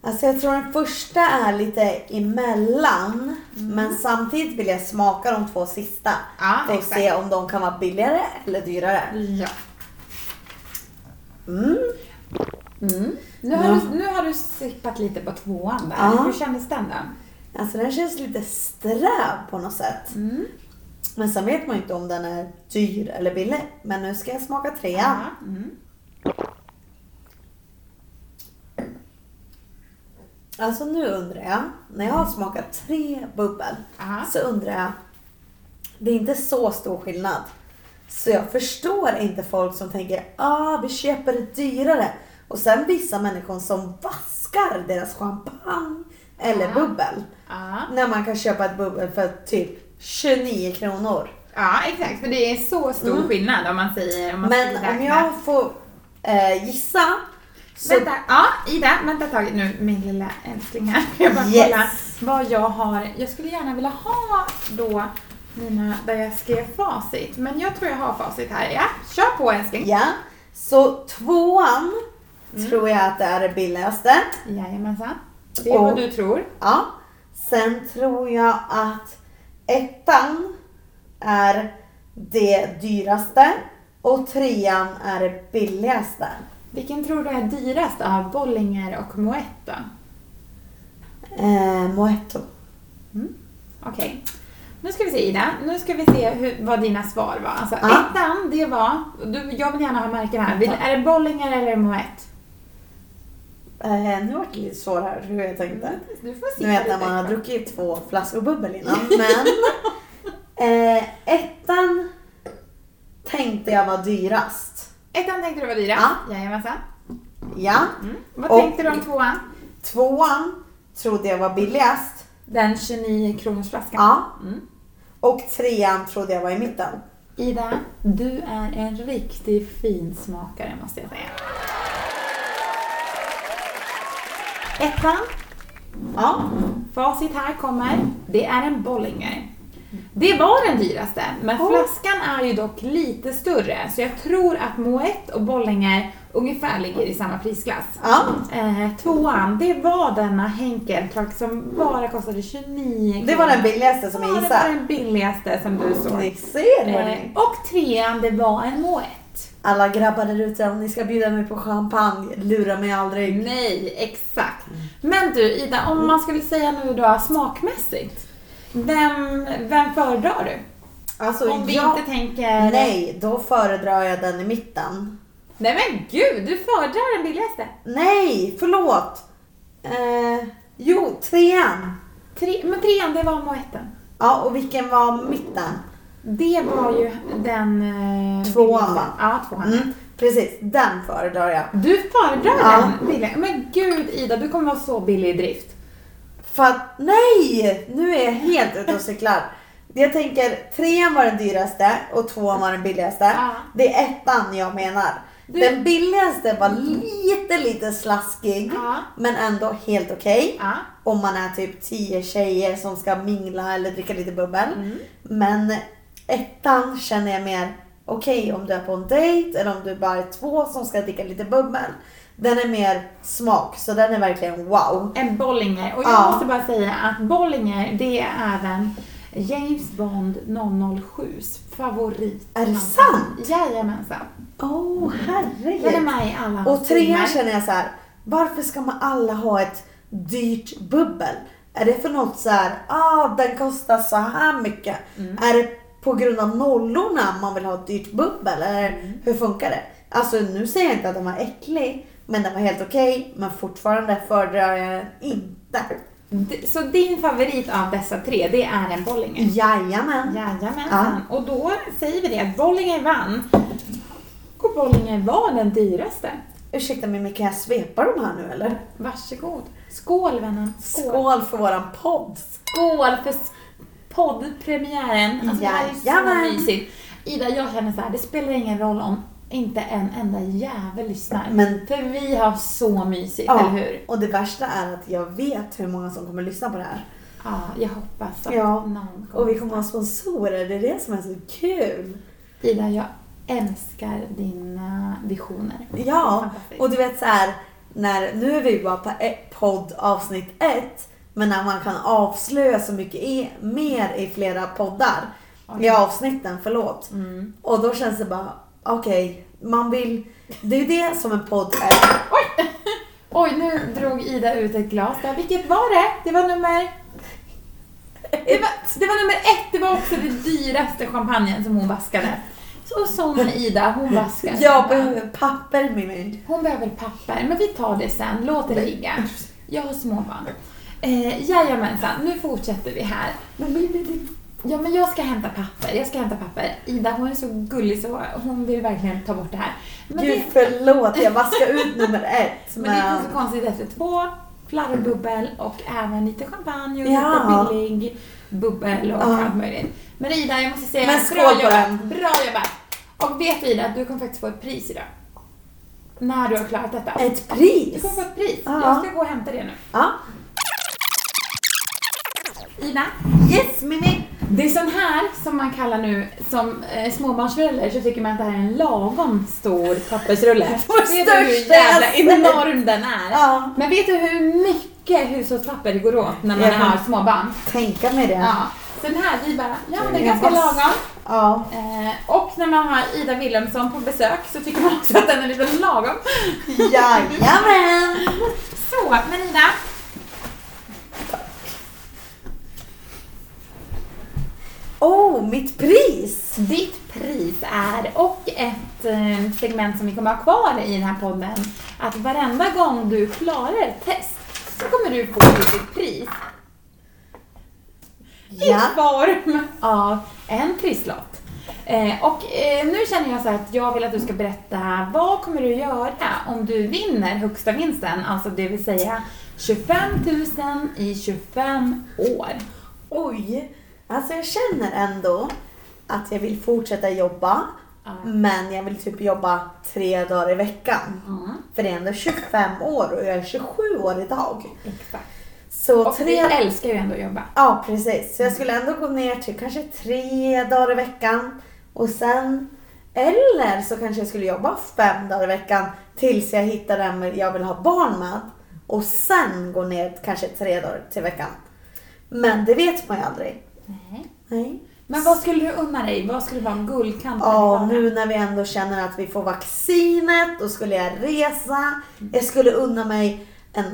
Alltså jag tror den första är lite emellan. Men samtidigt vill jag smaka de två sista. Mm. Ja, för att exakt. se om de kan vara billigare eller dyrare. Ja. Mm. Mm. Nu har, Ja. du, nu har du sippat lite på tvåan där. Ja. Hur kändes den då? Alltså den känns lite sträv på något sätt. Mm. Men sen vet man ju inte om den är dyr eller billig. Men nu ska jag smaka trean. Ja. Mm. Alltså nu undrar jag, när jag har smakat tre bubbel Ja. så undrar jag, det är inte så stor skillnad. Så jag förstår inte folk som tänker, ah vi köper det dyrare. Och sen vissa människor som vaskar deras champagne eller Ja. bubbel. Ja. När man kan köpa ett bubbel för typ 29 kronor. ja, exakt. För det är så stor skillnad om man säger... Mm. Om man Men skulle om räkna. jag får eh, gissa så Vänta, ja Ida, vänta ett tag nu min lilla älskling här. Jag bara Yes. kolla vad jag har. Jag skulle gärna vilja ha då mina, där jag skrev facit. Men jag tror jag har facit här. Ja, kör på älskling. ja. Så tvåan Mm. tror jag att det är det billigaste. Jajamensan. Det är vad Och- du tror. Ja. Sen tror jag att ettan är det dyraste och trean är det billigaste. Vilken tror du är dyrast av Bollinger och Moët då? Eh, Moetto. Okej. Nu ska vi se Ida, nu ska vi se hur, vad dina svar var. Alltså Ja. ettan, det var... Du, jag vill gärna ha märken här. Vill, är det Bollinger eller Moët? Eh, nu vart det lite svårare hur jag tänkte. Du får Nu se. vet jag när man har druckit två flaskor bubbel innan. Men eh, ettan tänkte jag var dyrast. Ettan tänkte du var dyrast? Ja. Jajamensan. Ja. Vad Och- tänkte du om tvåan? Tvåan trodde jag var billigast. Den 29 kronors flaskan. Ja. Mm. Och trean trodde jag var i mitten. Ida, du är en riktig finsmakare måste jag säga. Ettan, Ja. facit här kommer. Det är en Bollinger. Det var den dyraste, men Oj. flaskan är ju dock lite större så jag tror att Moët och Bollinger ungefär ligger i samma prisklass. Ja. Eh, tvåan, det var denna Henkel Clark som bara kostade 29 kronor. Det var den billigaste som jag Ja, det var gissade. den billigaste som du Ni såg. ser Eh, hörni. och trean, det var en Moët. Alla grabbar där ute, om ni ska bjuda mig på champagne, lura mig aldrig. Nej, exakt. Mm. Men du Ida, om man skulle säga nu då smakmässigt. Vem, vem föredrar du? Alltså, om vi jag... inte tänker... Nej, då föredrar jag den i mitten. Nej men gud, du föredrar den billigaste. Nej, förlåt. Eh, jo, trean. Tre, men trean, det var Moëtten. Ja, och vilken var mitten? Det var ju den... eh, Tvåan, bilden. va? Ja, tvåan. Mm, precis, den föredrar jag. Du föredrar Ja. den bilen. Men gud Ida, du kommer vara så billig i drift. För att, nej! Nu är jag helt ute och cyklar. Jag tänker, trean var den dyraste och tvåan var den billigaste. Ja. Det är ettan jag menar. Du- Den billigaste var lite, lite slaskig, Ja. men ändå helt okej. Ja. Om man är typ 10 tjejer som ska mingla eller dricka lite bubbel. Mm. Men ettan känner jag mer, okej om du är på en dejt eller om du bara är två som ska dricka lite bubbel. Den är mer smak, så den är verkligen wow. En Bollinger. Och jag Ja. måste bara säga att Bollinger, det är även James Bond 007s favorit. Är det sant? Jajamensan. Åh, oh, Den Mm. är herregud. med i alla hans Och trean filmer. känner jag så här. varför ska man alla ha ett dyrt bubbel? Är det för något så här, ah den kostar så här mycket. Mm. Är det på grund av nollorna man vill ha ett dyrt bubbel? Eller Mm. hur funkar det? Alltså nu säger jag inte att den var äcklig, men den var helt okej. men fortfarande föredrar jag den inte. D- Så din favorit av dessa tre, det är en Mm. Bollinger? Jajamän. Jajamensan. Och då säger vi det att Bollinger vann. Och Bollinger var den dyraste. Ursäkta mig men kan jag svepa de här nu eller? Varsågod. Skål vännen. Skål för våran podd! Skål för s- poddpremiären. Alltså, det här är Jajamän. så mysigt. Ida, jag känner så här, det spelar ingen roll om inte en enda jävel lyssnar. Men- För vi har så mysigt, Ja, eller hur? och det värsta är att jag vet hur många som kommer lyssna på det här. Ja, jag hoppas att Ja, någon kommer. Och vi kommer ha sponsorer, det är det som är så kul. Ida, jag älskar dina visioner. Ja, Fantastiskt. och du vet så här, när, nu är vi bara på ett podd avsnitt ett, men när man kan avslöja så mycket i, mer i flera poddar, i avsnitten, förlåt. Mm. Och då känns det bara, okej, man vill, det är ju det som en podd är. Oj, nu drog Ida ut ett glas där. Vilket var det? Det var nummer... Det var, det var nummer ett. Det var också den dyraste champagnen som hon vaskade. Och som Ida, hon vaskar. Jag behöver papper med mig. Hon behöver papper, men vi tar det sen. Låt det ligga. Jag har småbarn. Eh, jajamensan, nu fortsätter vi här. Men min är din. Ja, men jag ska hämta papper. Jag ska hämta papper. Ida, hon är så gullig så hon vill verkligen ta bort det här. Men Gud det, förlåt, jag vaskar ut nummer ett. men det är inte så konstigt efter två flarrbubbel och även lite champagne och Ja. lite billig bubbel och Ja. allt möjligt. Men Ida, jag måste säga Men skål på bra jobbat. den. Bra jobbat! Och vet du Ida, att du kommer faktiskt få ett pris idag. När du har klarat detta. Ett Du pris! kommer få ett pris. Ja. Jag ska gå och hämta det nu. Ja. Ida, Yes, Mimmi! det är sån här som man kallar nu, som eh, småbarnsförälder så tycker man att det här är en lagom stor pappersrulle. vet du hur största jävla ass- enorm den är? Ja. Men vet du hur mycket hushållspapper det går åt när man Jag har kan- småbarn? Tänka mig det. Ja. Så den här, vi bara, ja men det är Jag ganska hoppas. lagom. Ja. Eh, och när man har Ida Wilhelmsson på besök så tycker man också att den är lite lagom. Jajamän! Så, men Ida. Oh, mitt pris! Ditt pris är, och ett eh, segment som vi kommer ha kvar i den här podden, att varenda gång du klarar ett test så kommer du få ett litet pris Ja. i form av en trisslott. Eh, och eh, nu känner jag så här att jag vill att du ska berätta, vad kommer du göra om du vinner högsta vinsten, alltså det vill säga 25 000 i 25 år? Oj! Alltså jag känner ändå att jag vill fortsätta jobba. Ja. Men jag vill typ jobba tre dagar i veckan. För det är ändå 25 år och jag är 27 år idag. Exakt. Så Och vi tre... älskar ju ändå att jobba. Ja, precis. Så jag skulle ändå gå ner till kanske tre dagar i veckan. Och sen... Eller så kanske jag skulle jobba fem dagar i veckan tills jag hittar den jag vill ha barn med. Och sen gå ner kanske tre dagar till veckan. Men det vet man ju aldrig. Nej. Nej. Men vad skulle du unna dig? Vad skulle vara guldkanten? Ja, i nu vardagen? när vi ändå känner att vi får vaccinet, då skulle jag resa. Jag skulle unna mig en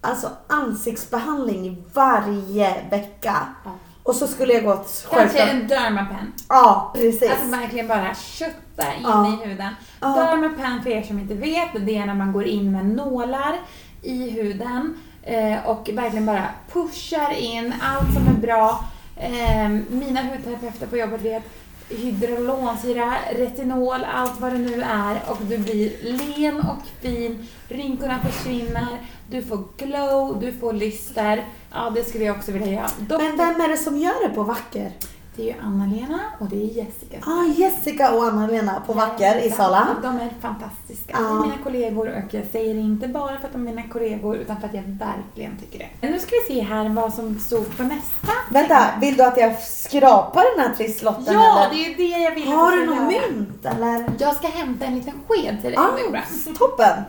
alltså, ansiktsbehandling varje vecka. Ja. Och så skulle jag gå till Kanske självklart... en dermapen. Ja, precis. Alltså verkligen bara kötta in Ja. i huden. Ja. Dermapen, för er som inte vet, det är när man går in med nålar i huden eh, och verkligen bara pushar in allt som är bra. eh, Ehm, mina hudterapeuter på jobbet vet hydrolonsyra, retinol, allt vad det nu är och du blir len och fin, rynkorna försvinner, du får glow, du får lyster. Ja, det skulle jag också vilja göra. Dock, Men vem är det som gör det på Vacker? det är ju Anna-Lena och det är Jessica. Ah, Jessica och Anna-Lena på Vacker i Sala. De är fantastiska. Ja. De är mina kollegor och jag säger det inte bara för att de är mina kollegor utan för att jag verkligen tycker det. Men nu ska vi se här vad som stod på nästa. Vänta, vill du att jag skrapar den här trisslotten Ja, eller? det är ju det jag vill att Har du du ska något göra. mynt eller? Jag ska hämta en liten sked till dig Ah, Nora. toppen!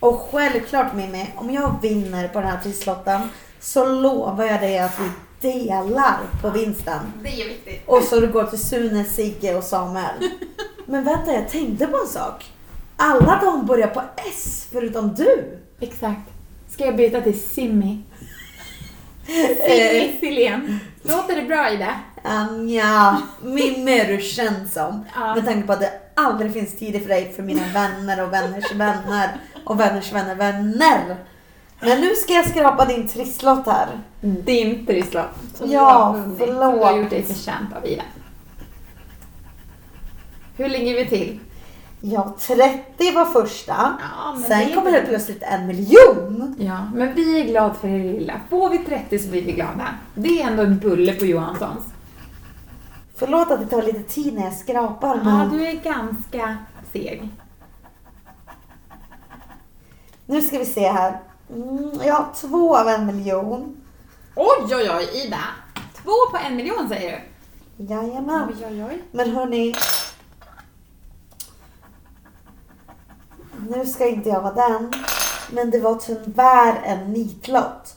Och självklart Mimmi, om jag vinner på den här trisslotten så lovar jag dig att vi delar på vinsten. Det är viktigt. Och så du går till Sune, Sigge och Samuel. Men vänta, jag tänkte på en sak. Alla de börjar på S förutom du. Exakt. Ska jag byta till Simmi? Eh. Simmi Silén. Låter det bra Ida? Um, ja, Mimmi är du känd som. Ja. Med tanke på att det aldrig finns tid för dig för mina vänner och vänners vänner och vänners vänner vänner. Men nu ska jag skrapa din trisslott här. Din trisslott. som Mm. Ja, du har vunnit, Som du har förlåt. gjort dig förtjänt av Ida. Hur ligger vi till? Ja, 30 var första. Ja, men det Sen är kommer inte- det plötsligt en miljon. Ja, men vi är glada för det lilla. Får vi 30 så blir vi glada. Det är ändå en bulle på Johanssons. Förlåt att det tar lite tid när jag skrapar. Ja, Men du är ganska seg. Nu ska vi se här. Mm, jag har två av en miljon. Oj, oj, oj, Ida! Två på en miljon säger du? Jajamän. Oj, oj, oj. Men hörni. Nu ska inte jag vara den. Men det var tyvärr en nitlott.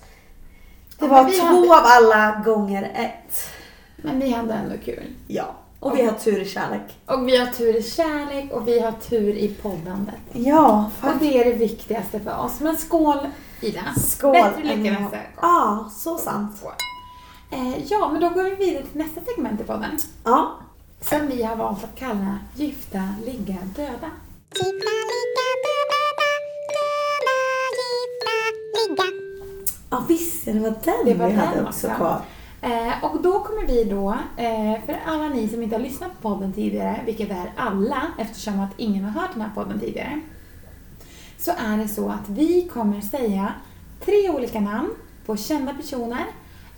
Det Ja, var men vi två hade- av alla gånger ett. Men vi hade ändå kul. Ja. Och vi har tur i kärlek. Och vi har tur i kärlek och vi har tur i poddandet. Ja, Och faktiskt. det är det viktigaste för oss. Men skål Ida! Skål. Bättre lycka Emma. nästa gång. Ja, så sant. Skål. Eh, ja, men då går vi vidare till nästa segment i podden. Ja. Som vi har valt att kalla Gifta, ligga, döda. Ja visst, det var den Det var vi den hade också också. kvar. Eh, och då kommer vi då, eh, för alla ni som inte har lyssnat på podden tidigare, vilket är alla eftersom att ingen har hört den här podden tidigare, så är det så att vi kommer säga tre olika namn på kända personer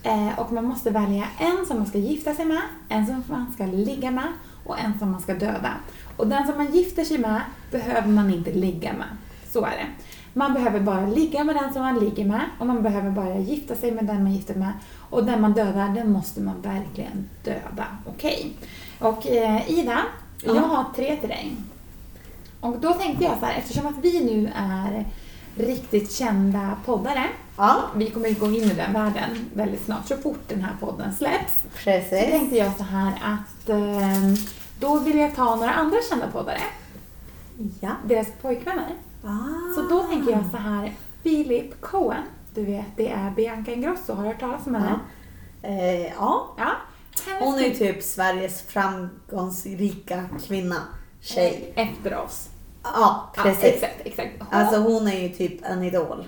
eh, och man måste välja en som man ska gifta sig med, en som man ska ligga med och en som man ska döda. Och den som man gifter sig med behöver man inte ligga med. Så är det. Man behöver bara ligga med den som man ligger med och man behöver bara gifta sig med den man gifter med. Och den man dödar, den måste man verkligen döda. Okej. Och eh, Ida, jag har tre till dig. Och då tänkte jag så här, eftersom att vi nu är riktigt kända poddare. Ja, Vi kommer ju gå in i den världen väldigt snart, så fort den här podden släpps. Så precis. tänkte jag så här att eh, då vill jag ta några andra kända poddare, Ja. deras pojkvänner. Ah. Så då tänker jag så här, Philip Cohen, du vet det är Bianca Ingrosso, har du hört talas om henne? Eh, ja. Ja. Hennes Hon är ju typ Sveriges framgångsrika kvinna. Tjej. Efter oss. Ja, Mm. Ja, precis. exakt, exakt. Hon- Alltså hon är ju typ en idol.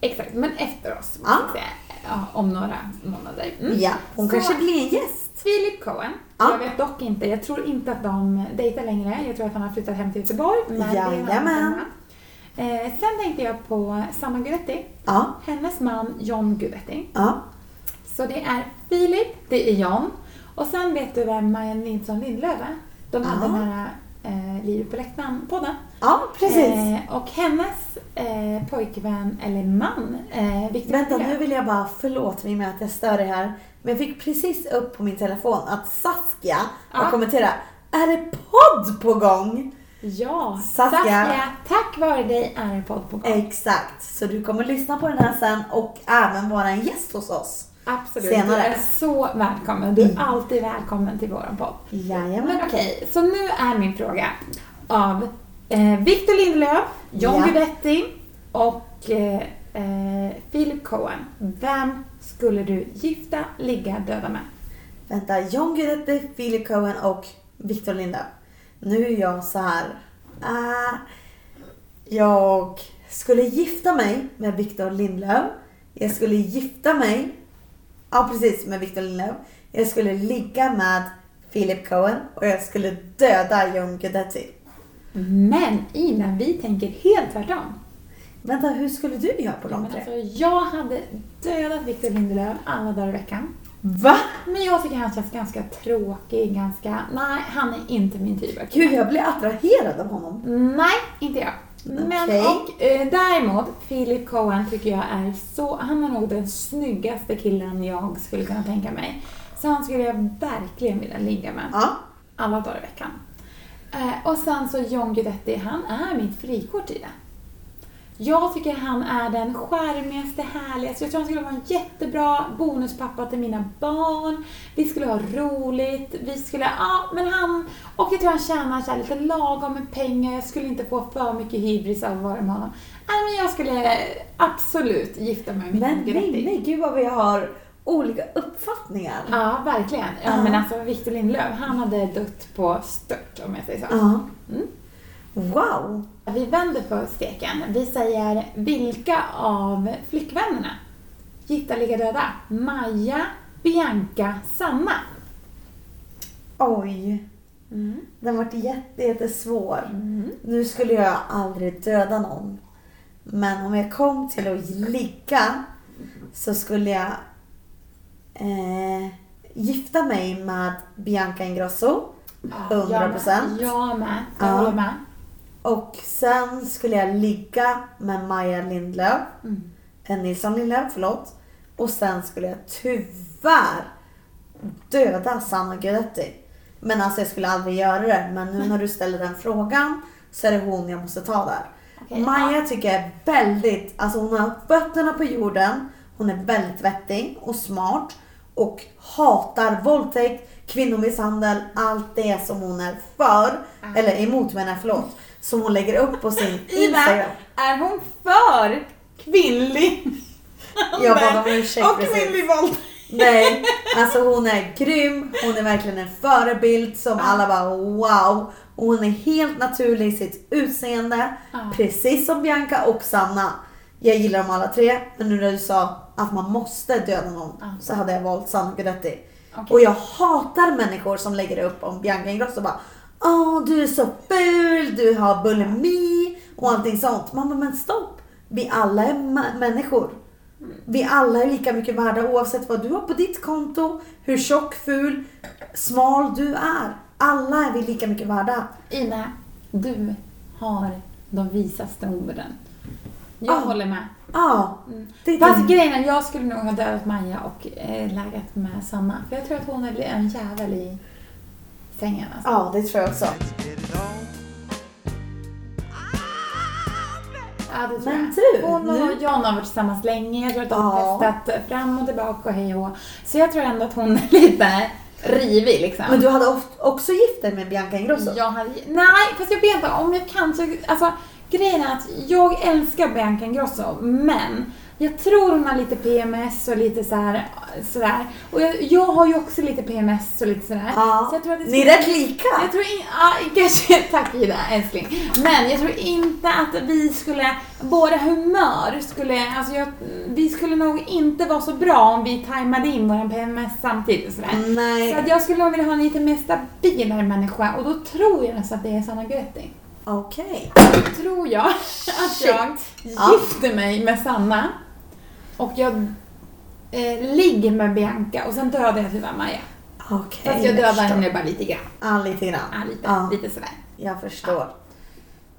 Exakt, men efter oss. Ja. måste jag säga. Ja, om några månader. Mm. Ja, hon Så- kanske blir en gäst. Philip Cohen. Ja. Jag vet dock inte. Jag tror inte att de dejtar längre. Jag tror att han har flyttat hem till Göteborg. Men det är en annan Jajamän. femma. Eh, sen tänkte jag på Sanna Gudetti. Ja, Hennes man John Gudetti. ja. Så det är Philip, det är John. Och sen vet du vem Maja Nilsson Lindlöf är? De hade Ja. den här eh, Livet på läktaren-podden. Ja, precis. Eh, och hennes eh, pojkvän, eller man, eh, Victor Vänta, Lindlöf. nu vill jag bara, förlåt mig med att jag stör dig här. Men jag fick precis upp på min telefon att Saskia har Ja. kommenterat. Är det podd på gång? Ja, Saskia. tack vare dig är en podd på gång. Exakt, så du kommer lyssna på den här sen och även vara en gäst hos oss. Absolut. senare. Du är så välkommen. Du är alltid välkommen till vår podd. Jajamän. Men okej, så nu är min fråga av eh, Victor Lindelöf, John Ja. Guidetti och eh, eh, Philip Cohen. Vem skulle du gifta, ligga, döda med? Vänta, John Guidetti, Philip Cohen och Victor Linda. Nu är jag så här. ah, jag skulle gifta mig med Victor Lindlöf. Jag skulle gifta mig ja precis, med Victor Lindelöf. Jag skulle ligga med Philip Cohen och jag skulle döda John Guidetti. Men Ina, vi tänker helt tvärtom. Vänta, hur skulle du göra på Men de alltså, tre? jag hade dödat Victor Lindelöf alla dagar i veckan. Va? Men jag tycker han känns ganska tråkig, ganska... Nej, han är inte min typ av kille. Gud, jag blir attraherad av honom. Nej, inte jag. Men Okej. och, eh, däremot, Philip Cohen tycker jag är så... Han är nog den snyggaste killen jag skulle kunna tänka mig. Så han skulle jag verkligen vilja ligga med. Ja. Alla dagar i veckan. Eh, och sen så John Guidetti, han är mitt frikort i det. Jag tycker han är den charmigaste, härligaste. Jag tror han skulle vara en jättebra bonuspappa till mina barn. Vi skulle ha roligt. Vi skulle, ja, men han... Och jag tror han tjänar så här lite lagom med pengar. Jag skulle inte få för mycket hybris av att vara med honom. Nej, men jag skulle absolut gifta mig med Men John Guidetti. nej, nej, gud vad vi har olika uppfattningar. Ja, verkligen. Ja, Ja. men alltså Victor Lindelöf, han hade dött på stört om jag säger så. Ja. Mm. Wow. Vi vänder på steken. Vi säger vilka av flickvännerna? Gifta, ligga, döda. Maja, Bianca, Sanna. Oj. Den vart jätte, jättesvår. Nu skulle jag aldrig döda någon. Men om jag kom till att ligga så skulle jag eh, gifta mig med Bianca Ingrosso. 100 procent. Jag med. Jag Ah, Ja. håller med. Och sen skulle jag ligga med Maja Lindlöf. Mm. Nilsson Lindlöf, förlåt. Och sen skulle jag tyvärr döda Sanna Guidetti. Men alltså jag skulle aldrig göra det. Men nu när du ställer den frågan så är det hon jag måste ta där. Okej, Maja tycker jag är väldigt, alltså hon har fötterna på jorden. Hon är väldigt vettig och smart. Och hatar våldtäkt, kvinnomisshandel, allt det som hon är för. Eller emot menar jag, förlåt. Som hon lägger upp på sin Ina, Instagram. är hon för kvinnlig? Jag bad om ursäkt Och precis. kvinnlig våld. Nej, alltså hon är grym. Hon är verkligen en förebild som alla bara wow. Och hon är helt naturlig i sitt utseende. Precis som Bianca och Sanna. Jag gillar dem alla tre, men nu när du sa att man måste döda någon så hade jag valt Sanna Guidetti. Och jag hatar människor som lägger upp om Bianca Ingrosso bara Åh, du är så ful, du har bulimi och allting sånt. Mamma, men stopp! Vi alla är ma- människor. Vi alla är lika mycket värda oavsett vad du har på ditt konto, hur tjock, ful, smal du är. Alla är vi lika mycket värda. Ina, du har de visaste orden. Jag Ah. håller med. Ja, det är Fast det. grejen är, jag skulle nog ha dödat Maja och eh, lägat med Sanna. För jag tror att hon är en jävel i sängen. Alltså. Ja, det tror jag också. Ja, det tror Men jag. du, Hon och nu- John har varit tillsammans länge. Jag tror att de har Ja. testat fram och tillbaka och hej och hå. Så jag tror ändå att hon är lite rivig liksom. Men du hade oft- också gift dig med Bianca Ingrosso? Jag hade, Alltså, nej, fast jag vet inte om jag kanske... Alltså, grejen är att jag älskar Bianca Ingrosso, men jag tror hon har lite PMS och lite så här, sådär. Och jag, jag har ju också lite PMS och lite sådär. Ja. Så jag tror att det Ni är skulle- rätt lika. Jag tror in, ja, kanske, tack Ida älskling. Men jag tror inte att vi skulle, våra humör skulle, alltså jag, vi skulle nog inte vara så bra om vi tajmade in våran PMS samtidigt och sådär. Nej. Så att jag skulle nog vilja ha en lite mer stabilare människa och då tror jag nästan att det är Sanna Guidetti. Okej. Då tror jag att jag Ja. gifter mig med Sanna och jag eh, ligger med Bianca och sen dödar jag tyvärr Maja. Okej. Fast jag dödar förstår. henne bara lite grann. Ja, lite grann. Ja, lite, Ja. lite sådär. Jag förstår.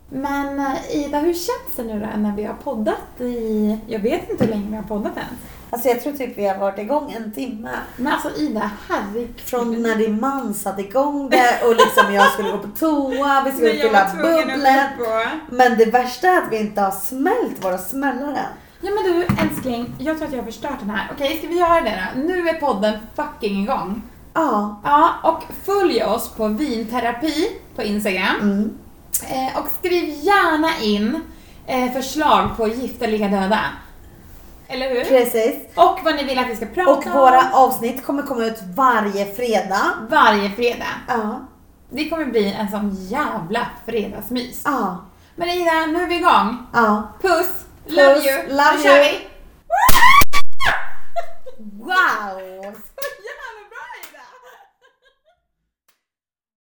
Men eh, Ida, hur känns det nu då när vi har poddat i... Jag vet inte hur länge vi har poddat än. Alltså jag tror typ vi har varit igång en timme. Men alltså Ida, herregud. Från när din man satte igång det och liksom jag skulle gå på toa, vi skulle fylla bubblet. Men det värsta är att vi inte har smält våra smällare än. Ja men du älskling, jag tror att jag har förstört den här. Okej, ska vi göra det då? Nu är podden fucking igång. Ja, Ja, och följ oss på vinterapi på Instagram. Mm. Eh, och skriv gärna in eh, förslag på gifta, ligga, döda. Eller hur? precis. Och vad ni vill att vi ska prata Och våra avsnitt kommer komma ut varje fredag. om varje fredag. Ja, Det kommer bli en sån jävla fredagsmys. ja, Men Ida, nu är vi igång. ja. Puss! Love Puss, you! love nu kör you. vi! Wow!